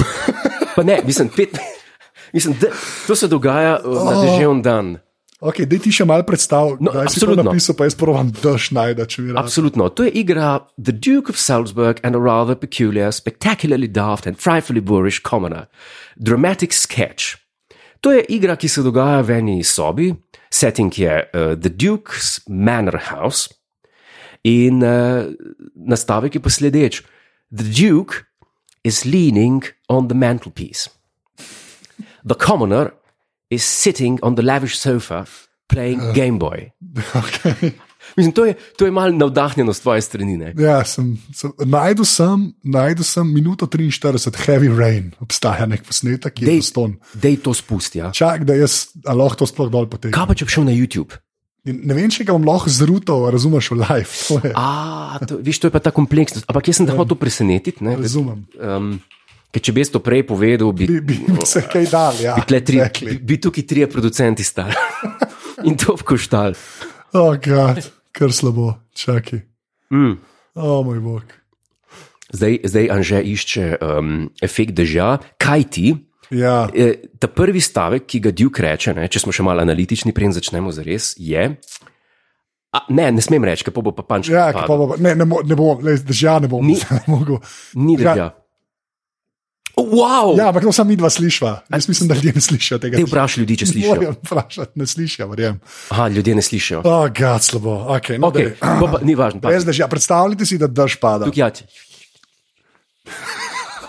Speaker 1: Pa ne, mislim, pet, <laughs> mislim de, to se dogaja uh,
Speaker 2: Oh.
Speaker 1: na deževni dan.
Speaker 2: Okay, dej ti še malo predstav,
Speaker 1: No,
Speaker 2: no, da si to
Speaker 1: absolutno.
Speaker 2: napisal, pa jaz provam, daš najda, če mi rad.
Speaker 1: Absolutno. To je igra The Duke of Salzburg and a rather peculiar, spectacularly daft and frightfully boorish commoner. Dramatic sketch. To je igra, ki se dogaja v eni sobi, setting je uh, The Duke's Manor House in uh, nastavek je pa sledeč: The Duke is leaning on the mantelpiece. The commoner is sitting on the lavish sofa playing Game Boy.
Speaker 2: Okay.
Speaker 1: Mislim, to je, to je malo navdahnjeno z tvoje strani. Ne?
Speaker 2: Ja, sem, sem, najdu, sem, najdu sem minuto 43, heavy rain, obstaja nek posnetek, ki
Speaker 1: Dej.
Speaker 2: je ston.
Speaker 1: Dej to spusti. Ja.
Speaker 2: Čak, da jaz a lahko to sploh dol potegnem.
Speaker 1: Kaj pa če bi šel na YouTube?
Speaker 2: In Ne vem, če ga bom lahko zrutal, razumeš, v live. <laughs> to je.
Speaker 1: A, to, veš, to je pa ta kompleksnost. Ampak jaz sem te hotel presenetiti. ne, da-
Speaker 2: Razumem.
Speaker 1: Um, ker če bi jaz to prej povedal, bi,
Speaker 2: Bi, bi bi se kaj dal, ja.
Speaker 1: tle tri,
Speaker 2: rekli.
Speaker 1: bi, bi tukaj trije producenti stali <laughs> in to obkoštali.
Speaker 2: Oh, God, kar slabo, čakaj.
Speaker 1: Mm.
Speaker 2: O oh, moj bog.
Speaker 1: Zdaj, zdaj Anže išče um, efekt dežja, kaj ti?
Speaker 2: Ja,
Speaker 1: Eh, ta prvi stavek, ki ga Duke reče, ne, če smo še malo analitični, preden začnemo zares, je. A, ne, ne smem reči, ker pa bo pa panč.
Speaker 2: ja ki pa bo, ne, ne, mo- ne bom, le, držal ne bom,
Speaker 1: Ni-
Speaker 2: <laughs> ne mogel.
Speaker 1: Ni
Speaker 2: Ja.
Speaker 1: držal. Wow!
Speaker 2: Ja, ampak to sami dva slišva. Jaz mislim, da ljudje ne slišijo tega.
Speaker 1: Te vprašaj ljudi, če slišijo.
Speaker 2: Moram vprašati, ne slišijo, verjamem.
Speaker 1: Aha, ljudje ne slišijo.
Speaker 2: O, oh, gad slabo, ok. No,
Speaker 1: Okay,
Speaker 2: daj.
Speaker 1: bo pa, ni važno. Pa,
Speaker 2: Brez dežja, predstavljajte si, da dež pada.
Speaker 1: tukaj, ja, ti-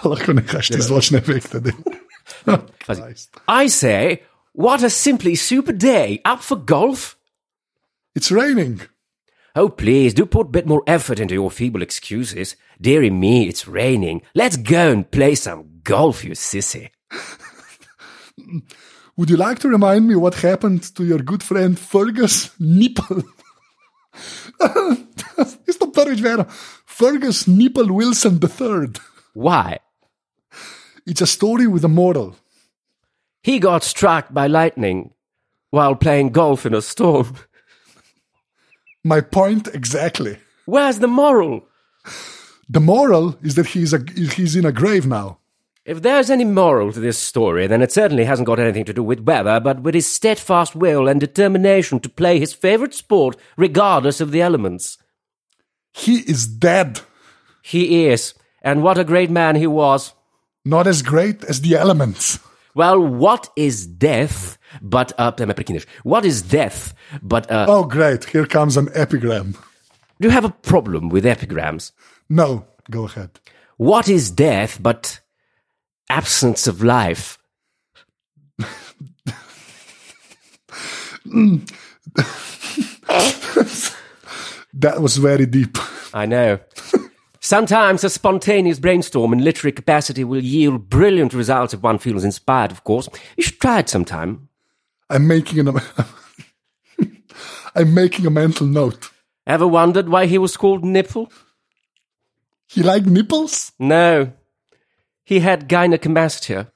Speaker 2: Lahko nekaš te zvočne efekte. daj.
Speaker 1: pazi. I say, what a simply super day. Up for golf?
Speaker 2: It's raining.
Speaker 1: Oh, please, do put a bit more effort into your feeble excuses. Deary me, it's raining. Let's go and play some golf, you sissy.
Speaker 2: Would you like to remind me what happened to your good friend Fergus <laughs> Nipple? Isto prvič vera. Fergus Nipple Wilson III.
Speaker 1: Why?
Speaker 2: It's a story with a moral.
Speaker 1: He got struck by lightning while playing golf in a storm.
Speaker 2: My point exactly.
Speaker 1: Where's the moral?
Speaker 2: The moral is that he's, a, he's in a grave now.
Speaker 1: If there's any moral to this story, then it certainly hasn't got anything to do with weather, but with his steadfast will and determination to play his favourite sport regardless of the elements.
Speaker 2: He is dead.
Speaker 1: He is, and what a great man he was.
Speaker 2: Not as great as the elements.
Speaker 1: Well, what is death but uh, prej me prekineš. What is death but uh,
Speaker 2: Oh, great. Here comes an epigram.
Speaker 1: do you have a problem with epigrams?
Speaker 2: No, go ahead.
Speaker 1: What is death but absence of life?
Speaker 2: That was very deep. <laughs>
Speaker 1: I know. Sometimes a spontaneous brainstorm in literary capacity will yield brilliant results if one feels inspired, of course. You should try it sometime.
Speaker 2: I'm making an. <laughs> I'm making a mental note.
Speaker 1: Ever wondered why he was called Nipple?
Speaker 2: He like nipples? <laughs>
Speaker 1: No. He had gynecomastia.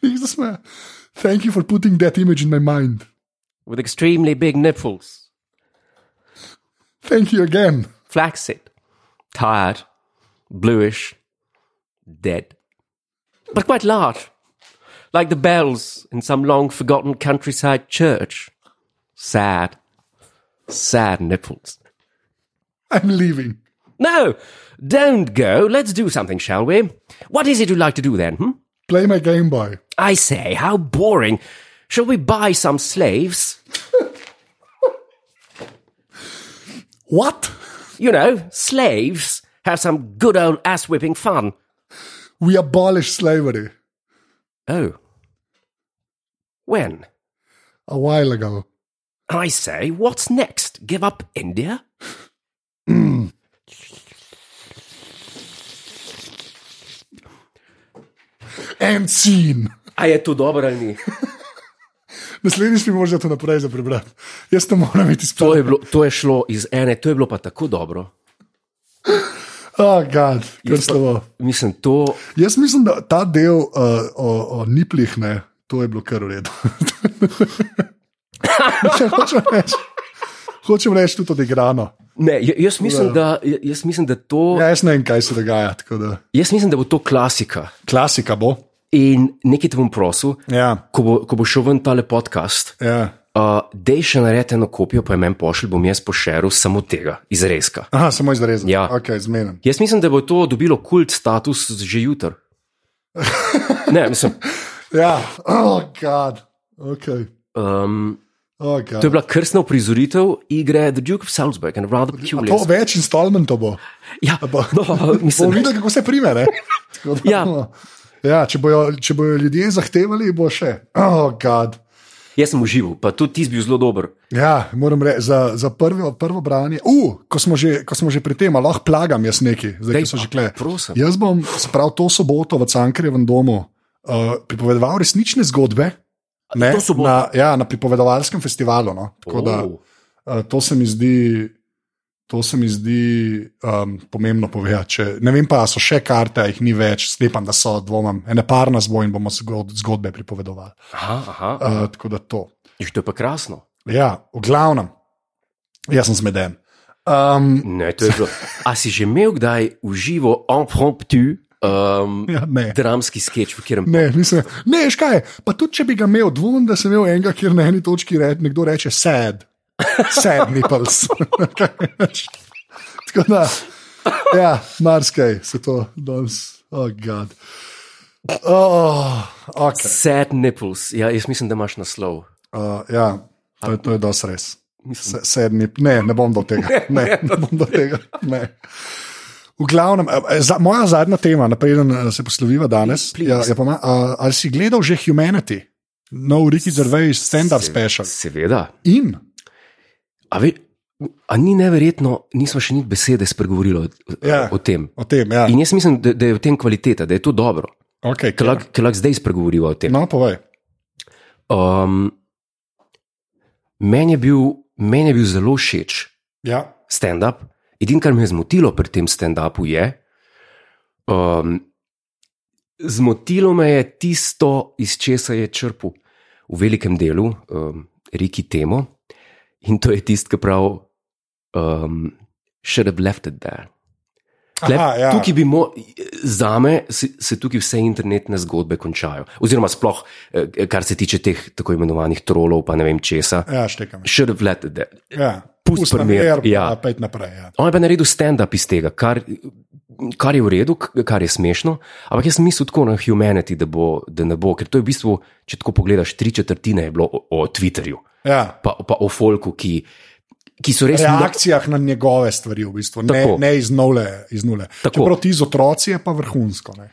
Speaker 2: He just uh, Thank you for putting that image in my mind.
Speaker 1: with extremely big nipples.
Speaker 2: Thank you again. <laughs>
Speaker 1: Flaccid, tired, bluish, dead. But quite large. Like the bells in some long forgotten countryside church. Sad, sad nipples.
Speaker 2: I'm leaving.
Speaker 1: No, don't go. Let's do something, shall we? What is it you'd like to do then? Hmm?
Speaker 2: Play my Game Boy.
Speaker 1: I say, how boring. Shall we buy some slaves?
Speaker 2: What?
Speaker 1: You know, slaves have some good old ass whipping fun.
Speaker 2: We abolished slavery
Speaker 1: Oh. When?
Speaker 2: a while ago.
Speaker 1: I say, what's next? Give up India?
Speaker 2: And scene. <laughs>
Speaker 1: A je to dobro ali ni?
Speaker 2: Naslednjič mi moraš to naprej za prebrati. Jaz to moram iti
Speaker 1: To
Speaker 2: spati.
Speaker 1: je, bilo, to je šlo iz ene, to je bilo pa tako dobro.
Speaker 2: Oh, God, kar
Speaker 1: Jaz pa-
Speaker 2: slovo.
Speaker 1: Mislim, to
Speaker 2: Jaz mislim, da ta del uh, o, o niplih, ne, to je bilo kar v redu. <laughs> hočem reči, hočem reči tudi odigrano.
Speaker 1: ne, j- jaz mislim, da, j- jaz mislim, da to,
Speaker 2: Ja, jaz ne vem, kaj se dogaja. tako Da.
Speaker 1: jaz mislim, da bo to klasika.
Speaker 2: Klasika bo.
Speaker 1: In nekaj te bom prosil,
Speaker 2: Ja,
Speaker 1: ko bo, ko bo šel ven tale podcast,
Speaker 2: ja.
Speaker 1: uh, dej še naredi eno kopijo, pa je meni pošilj, bom jaz pošeril samo tega izrezka.
Speaker 2: Aha, samo izrezan.
Speaker 1: Ja.
Speaker 2: Okay, zmenen.
Speaker 1: Jaz mislim, da bo to dobilo kult status že
Speaker 2: <laughs>
Speaker 1: jutr. Ne, mislim,
Speaker 2: Ja, oh, God. Okay.
Speaker 1: um,
Speaker 2: Oh,
Speaker 1: To je
Speaker 2: God.
Speaker 1: bila krsna uprizoritev igre The Duke of Salzburg and Rather
Speaker 2: To
Speaker 1: Peculiar.
Speaker 2: več instalmentov bo.
Speaker 1: Ja,
Speaker 2: bo-
Speaker 1: no,
Speaker 2: Bomo
Speaker 1: mislim,
Speaker 2: videli, kako se prime. ne. Tako da
Speaker 1: <laughs> Ja.
Speaker 2: bomo- Ja, če, bojo, če bojo ljudje zahtevali, bo še. Oh, God.
Speaker 1: jaz sem užival, pa tudi ti si bil zelo dober.
Speaker 2: Ja, moram reči, za, za prvo, prvo branje, uh, ko, smo že, ko smo že pri tem, a lahko plagam jaz neki, zdaj
Speaker 1: Daj
Speaker 2: ki so
Speaker 1: pa,
Speaker 2: že kle. Ja,
Speaker 1: prosim.
Speaker 2: Jaz bom prav to soboto v Cankarjevem domu uh, pripovedoval resnične zgodbe. Ne,
Speaker 1: to soboto?
Speaker 2: na, ja, na pripovedovalskem festivalu. No. Tako da,
Speaker 1: Oh,
Speaker 2: uh, to se mi zdi, to se mi zdi um, pomembno povedati. Če, ne vem pa, a so še karte, a jih ni več, sklepam, da so dvomem. Ene par nas bo in bomo zgod- zgodbe pripovedovali.
Speaker 1: aha, aha.
Speaker 2: Uh, tako da to.
Speaker 1: Že to je pa krasno.
Speaker 2: Ja, v glavnem, jaz sem zmeden. Um,
Speaker 1: Ne, to je bilo. A si že imel kdaj uživo impromptu um,
Speaker 2: ja, ne.
Speaker 1: dramski sketch, v katerem
Speaker 2: Ne, nisem. Ne, škaj. Pa tudi, če bi ga imel, dvomim, da sem imel enega, kjer na eni točki re, nekdo reče sad, sad nipples. Tako da, ja, marsikaj se to danes, oh, god. Oh, okay.
Speaker 1: Sad nipples, ja, jaz mislim, da imaš naslov.
Speaker 2: uh, ja, to, je- to je dosti res.
Speaker 1: Mislim,
Speaker 2: Se- Sedmi, ne, ne bom do
Speaker 1: <laughs>
Speaker 2: tega. Ne, ne bom do tega. Ne. V glavnem, eh, za, moja zadnja tema, napreden eh, se posloviva danes,
Speaker 1: Please.
Speaker 2: je, je pa, ma- a, ali si gledal že Humanity, nov Ricky Gervais stand-up
Speaker 1: se-
Speaker 2: special.
Speaker 1: Seveda.
Speaker 2: In
Speaker 1: A, ve, a ni neverjetno, nismo še ni besede spregovorili o,
Speaker 2: Ja.
Speaker 1: o tem.
Speaker 2: o tem, ja.
Speaker 1: In jaz mislim, da, da je v tem kvaliteta, da je to dobro.
Speaker 2: Okay,
Speaker 1: Ker lahko- ker lahko zdaj spregovorimo o tem.
Speaker 2: Ja. no, povej.
Speaker 1: Um, meni, je bil, meni je bil zelo všeč
Speaker 2: Ja.
Speaker 1: stand-up. Edino, kar me je zmotilo pri tem stand-upu, je, um, zmotilo me je tisto, iz česa je črpal v velikem delu um, Riki Temo, in to je tisto, ki pravi, um, should have left it there. Tle,
Speaker 2: Aha, ja.
Speaker 1: Tukaj bi mo, za me se, se tukaj vse internetne zgodbe končajo. Oziroma, sploh, eh, kar se tiče teh tako imenovanih trolov, pa ne vem česa.
Speaker 2: ja, štekam.
Speaker 1: Should have let it there.
Speaker 2: Ja.
Speaker 1: Pusti
Speaker 2: Pusti na
Speaker 1: primer,
Speaker 2: mir,
Speaker 1: ja.
Speaker 2: pa Pojdi naprej. Ja.
Speaker 1: On je pa naredil stand-up iz tega, kar, kar je v redu, k- kar je smešno, ampak jaz sem mislil tako na humanity, da, bo, da ne bo, ker to je v bistvu, če tako pogledaš, tri četrtine je bilo o, o Twitterju,
Speaker 2: Ja.
Speaker 1: pa, pa o Folku, ki, ki so res na-
Speaker 2: Reakcijah na njegove stvari, v bistvu, ne,
Speaker 1: Tako.
Speaker 2: ne iz nule. Iz nule.
Speaker 1: Tako.
Speaker 2: Čeprav ti z otroci je pa vrhunsko. Ne?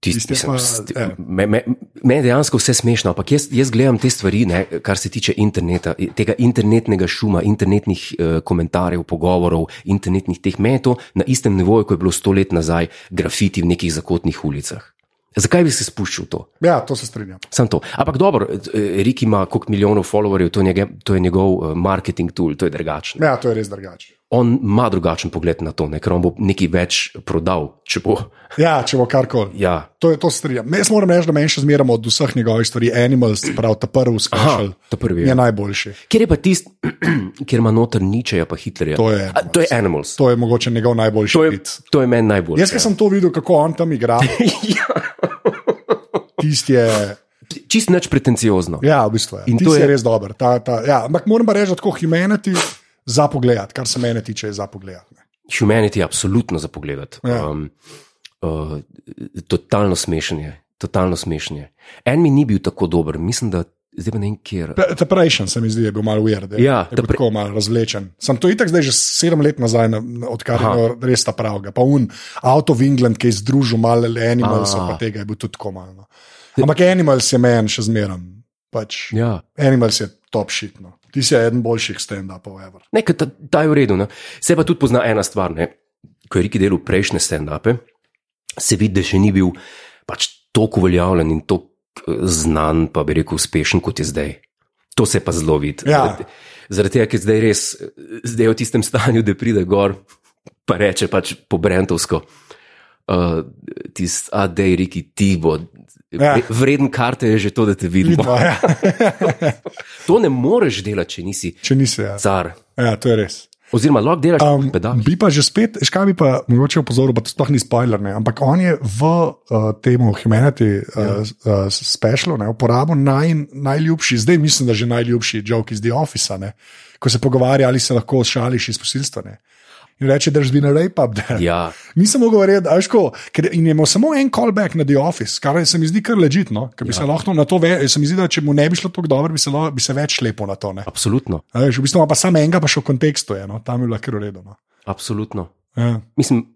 Speaker 1: Tisti,
Speaker 2: Tiste
Speaker 1: mislim,
Speaker 2: pa,
Speaker 1: sti-
Speaker 2: eh.
Speaker 1: me- me- Meni je dejansko vse smešno, ampak jaz, jaz gledam te stvari, ne, kar se tiče interneta, tega internetnega šuma, internetnih eh, komentarjev, pogovorov, internetnih teh metov na istem nivoju, kot je bilo sto let nazaj grafiti v nekih zakotnih ulicah. Zakaj bi se spuščal v to?
Speaker 2: Ja, to se strinjam.
Speaker 1: Sam to. Ampak dobro, eh, Rik ima koliko milijonov followerjev, to je, njege, to je njegov eh, marketing tool, to je drugačno.
Speaker 2: Ja, to je res drugače.
Speaker 1: On ima drugačen pogled na to, ne, ker on bo nekaj več prodal, če bo.
Speaker 2: Ja, če bo karkoli.
Speaker 1: Ja.
Speaker 2: To, je- to se strinjam. Me- Jaz moram reči, da meni še zmeramo od vseh njegovih stvari. Animals, prav ta prvi
Speaker 1: Aha,
Speaker 2: skrašal,
Speaker 1: to prvi ja.
Speaker 2: je
Speaker 1: je.
Speaker 2: najboljši.
Speaker 1: Kjer je pa tisti, <clears throat> kjer ima noter ničeja, pa Hitlerja.
Speaker 2: To je
Speaker 1: A, to je Animals.
Speaker 2: To je mogoče njegov najboljši
Speaker 1: To je,
Speaker 2: hit.
Speaker 1: to je meni najbolj.
Speaker 2: Jaz, ki sem to videl, kako on tam igra,
Speaker 1: <laughs> Ja.
Speaker 2: tisti je.
Speaker 1: Čist neč pretenciozno.
Speaker 2: Ja, v bistvu je.
Speaker 1: In
Speaker 2: Tisti
Speaker 1: to
Speaker 2: je
Speaker 1: je-
Speaker 2: res dober. Ta, ta, ja. Ampak moram pa reči, da tako humanity za pogled, kar se mene tiče, je za pogled.
Speaker 1: Humanity je absolutno za pogled.
Speaker 2: Ja.
Speaker 1: Um, uh, totalno smešen je, totalno smešen je. En mi ni bil tako dober, mislim, da zdaj pa ne vem, kjer.
Speaker 2: Ta prejšen se mi zdi, da je bil malo weird. Je,
Speaker 1: Ja,
Speaker 2: je
Speaker 1: ta
Speaker 2: bil
Speaker 1: pre-
Speaker 2: tako malo razvlečen. Sem to itak zdaj že sedem let nazaj, na- na- odkar
Speaker 1: Aha.
Speaker 2: je imel res ta pravga. Pa un Out of England, ki je združil malo Animals,
Speaker 1: Ah.
Speaker 2: pa tega je bil tudi tako malo. no. Ampak Animals je meni še zmeren. Pač,
Speaker 1: Ja.
Speaker 2: Animals je top šitno. Ti si eden boljših stand-upov, ever.
Speaker 1: Ne, ker ta, ta je v redu. Ne. Se pa tudi pozna ena stvar. Ne. Ko je Riki delal prejšnje stand-upe, se vidi, da še ni bil pač tako uveljavljen in tako eh, znan, pa bi rekel, uspešen kot je zdaj. To se pa zelo vidi.
Speaker 2: Ja.
Speaker 1: Zaradi- Zaradi tega, ker zdaj res, eh, zdaj je v tistem stanju, da pride gor, pa reče pač po Brentovsko. Uh, Tisti, a da je Riki, ti bo.
Speaker 2: Ja.
Speaker 1: Ja. Vreden karte je že to, da te vidimo.
Speaker 2: Vidva, ja. <laughs>
Speaker 1: To ne moreš delati, če nisi
Speaker 2: Če nisi, ja.
Speaker 1: car.
Speaker 2: ja, to je res.
Speaker 1: Oziroma, lahko delaš
Speaker 2: Um,
Speaker 1: um, pedal.
Speaker 2: bi pa že spet, veš, kaj bi pa mogoče opozoril, pa to sploh ni spoiler, ne? ampak on je v uh, temu Humanity uh, uh, specialu ne, uporabil naj, najljubši, zdaj mislim, da že najljubši joke iz The Office, ne, ko se pogovarja ali se lahko šališ iz posilstva. Ne. In reče, da je been a rape up there.
Speaker 1: Ja,
Speaker 2: Nisem mogel verjeti, a ško, ker in je imel samo en callback na The Office, kar se mi zdi kar ležitno, ker bi ja. se lahko na to, ve, se mi zdi, da če mu ne bi šlo tako dobro, bi se, lahko- bi se več lepo na to. ne.
Speaker 1: absolutno.
Speaker 2: A Veš, v bistvu ima pa samo enega, pa še v kontekstu je, no, tam je bilo kar urejeno.
Speaker 1: absolutno.
Speaker 2: Ja.
Speaker 1: Mislim,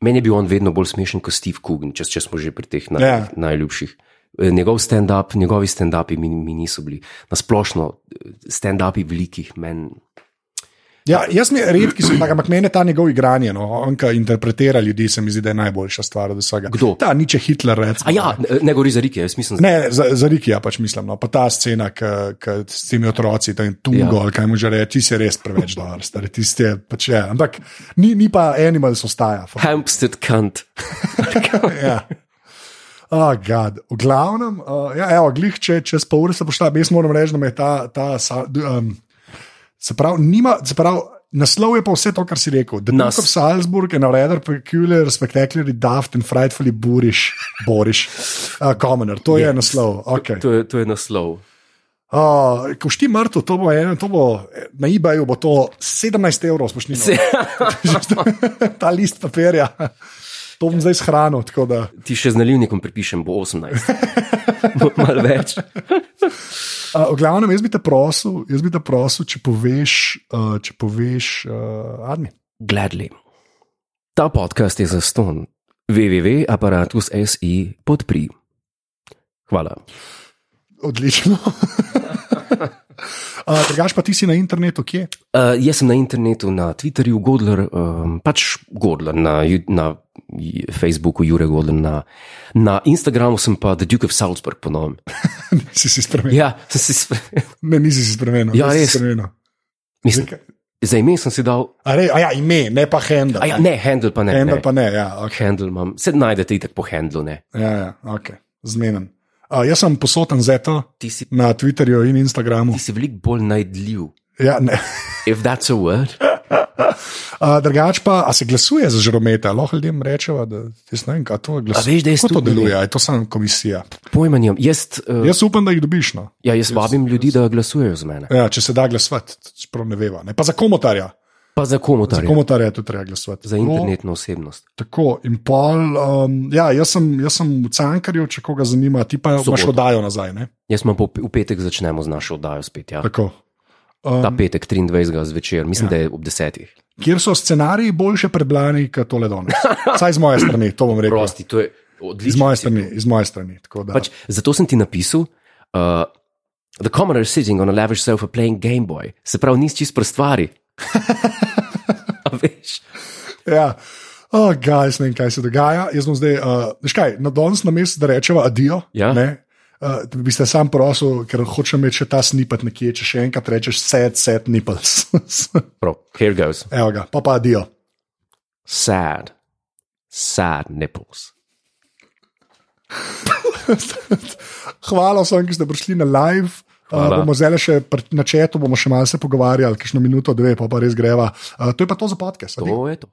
Speaker 1: meni je bil on vedno bolj smešen kot Steve Coogan, če, če smo že pri teh naj,
Speaker 2: Ja.
Speaker 1: yeah. najljubših. Eh, Njegov stand-up, njegovi stand-upi mi, mi niso bili. Na splošno, eh, stand-upi velikih meni.
Speaker 2: Ja, jaz mi redki sem, tak, ampak meni je ta njegov igranje, no, on ki interpretira ljudi, se mi zdi, da je najboljša stvar od vsega.
Speaker 1: Kdo?
Speaker 2: Ta niče Hitler, recimo.
Speaker 1: A ja, ne- ne gori za rike, jaz mislim, da
Speaker 2: Ne, za, za Rikija pač mislim, no. pa ta scena, ki ki s temi otroci, tam Tungo,
Speaker 1: Ja.
Speaker 2: ja. kaj mu že reče, ti si res preveč dober, stari, ti si pač je. Ampak ni, ni pa animals ostaja. fakt.
Speaker 1: Hampstead Kant.
Speaker 2: Ja. Oh, God. V glavnem, uh, ja, evo, glih, če čez pol ure se boš ta, jaz moram reči, da me je ta. ta sa- d- um, se pravi, nima, se pravi, naslov je pa vse to, kar si rekel. The Duke
Speaker 1: Nas.
Speaker 2: of Salzburg and a rather peculiar, spectacularly daft and frightfully boorish, boorish uh, commoner. To je yes. naslov. Okay.
Speaker 1: To je, to je naslov.
Speaker 2: Uh, ko šti mrtev, to bo eno, to bo na eBayu bo to 17 evrov, spoštljivo. <laughs> ta list papirja. To bom zdaj shranil, tako da.
Speaker 1: Ti še z nalivnikom pripišem, bo
Speaker 2: <laughs>
Speaker 1: 18. Bo Malo več.
Speaker 2: Uh, v glavnem, jaz bi te prosil, jaz bi te prosil če poveš, uh, če poveš, uh, Admi.
Speaker 1: Gladly. Ta podcast je za ston. www.apparatus.si podpri. Hvala.
Speaker 2: Odlično. <laughs> uh, Drugač pa ti si na internetu, kje?
Speaker 1: Uh, jaz sem na internetu, na Twitterju, Godler, um, pač Godler, na, Ju- na J- Facebooku, Jure Godler, na, na Instagramu sem pa The Duke of Salzburg
Speaker 2: <laughs>
Speaker 1: ponovim.
Speaker 2: si si spremenil.
Speaker 1: Ja, sem si, sp-
Speaker 2: Ne, nisi si spremenil.
Speaker 1: Ja,
Speaker 2: nisi
Speaker 1: res.
Speaker 2: Spremenil.
Speaker 1: mislim, za ime sem si dal,
Speaker 2: A, re, a ja, ime, ne pa handle.
Speaker 1: a ja, ne, handle pa ne.
Speaker 2: handle
Speaker 1: ne.
Speaker 2: pa ne, ja, okay.
Speaker 1: Handle imam, se najdete itak po handlu, ne.
Speaker 2: ja, ja okay. zmeden. Uh, jaz sem posoten za to
Speaker 1: Ti si,
Speaker 2: na Twitterju in Instagramu.
Speaker 1: ti si veliko bolj najdljiv.
Speaker 2: Ja, ne. <laughs>
Speaker 1: If that's a word.
Speaker 2: Uh, drugač pa, a se glasuje za žromete, lahko ljudem rečeva, da jaz ne vem, kaj to
Speaker 1: A
Speaker 2: glasuje.
Speaker 1: veš, da jaz
Speaker 2: Kako to
Speaker 1: tudi ne
Speaker 2: deluje, a je to samo komisija.
Speaker 1: Pojmanjem, jaz, uh,
Speaker 2: Jaz upam, da jih dobiš. No.
Speaker 1: ja, jaz vabim ljudi, da glasujejo z mene.
Speaker 2: Ja, če se da glasovati, čeprav ne veva. Ne? Pa za komotarja.
Speaker 1: Pa za
Speaker 2: Za
Speaker 1: komotarje,
Speaker 2: komotarja je tudi treba glasovati.
Speaker 1: za internetno osebnost.
Speaker 2: Tako, tako. in pol. Um, ja, jaz sem, jaz sem v Cankarju, če koga zanima, ti pa imaš
Speaker 1: Soboto.
Speaker 2: oddajo nazaj. Ne?
Speaker 1: Jaz imam pa v petek začnemo z našo oddajo spet. Ja.
Speaker 2: Tako.
Speaker 1: Ta
Speaker 2: Um,
Speaker 1: petek, 23. zvečer, mislim, ja. da je ob 10.
Speaker 2: kjer so scenariji boljše prebrani, kot tole danes. Vsaj iz moje strani, to bom rekel.
Speaker 1: Prosti, to je
Speaker 2: Iz
Speaker 1: odlično.
Speaker 2: moje strani, iz moje strani. tako da.
Speaker 1: Pač, zato sem ti napisal. Uh, The commoner sitting on a lavish sofa playing Game Boy. <laughs> Se pravi, nisi čist prstvari. A veš?
Speaker 2: Ja. oh, guys, ne vem, kaj se dogaja. Jaz bom zdaj, uh, veš kaj, na danes na mestu, da rečeva adijo.
Speaker 1: Ja.
Speaker 2: Ne, Uh, bi ste sam prosil, ker hočem imeti še ta snipet nekje, če še enkrat rečeš, sad, sad nipples. <laughs>
Speaker 1: Prav, here goes.
Speaker 2: Evo ga, pa pa adijo.
Speaker 1: Sad, sad nipples.
Speaker 2: Hvala vsem, ki ste prišli na live. Uh,
Speaker 1: Hvala.
Speaker 2: bomo zdaj še pri- na četu, bomo še malo se pogovarjali, kakšno minuto, dve, pa pa res greva. Uh, Eh, to je pa to za podcast.
Speaker 1: To je to.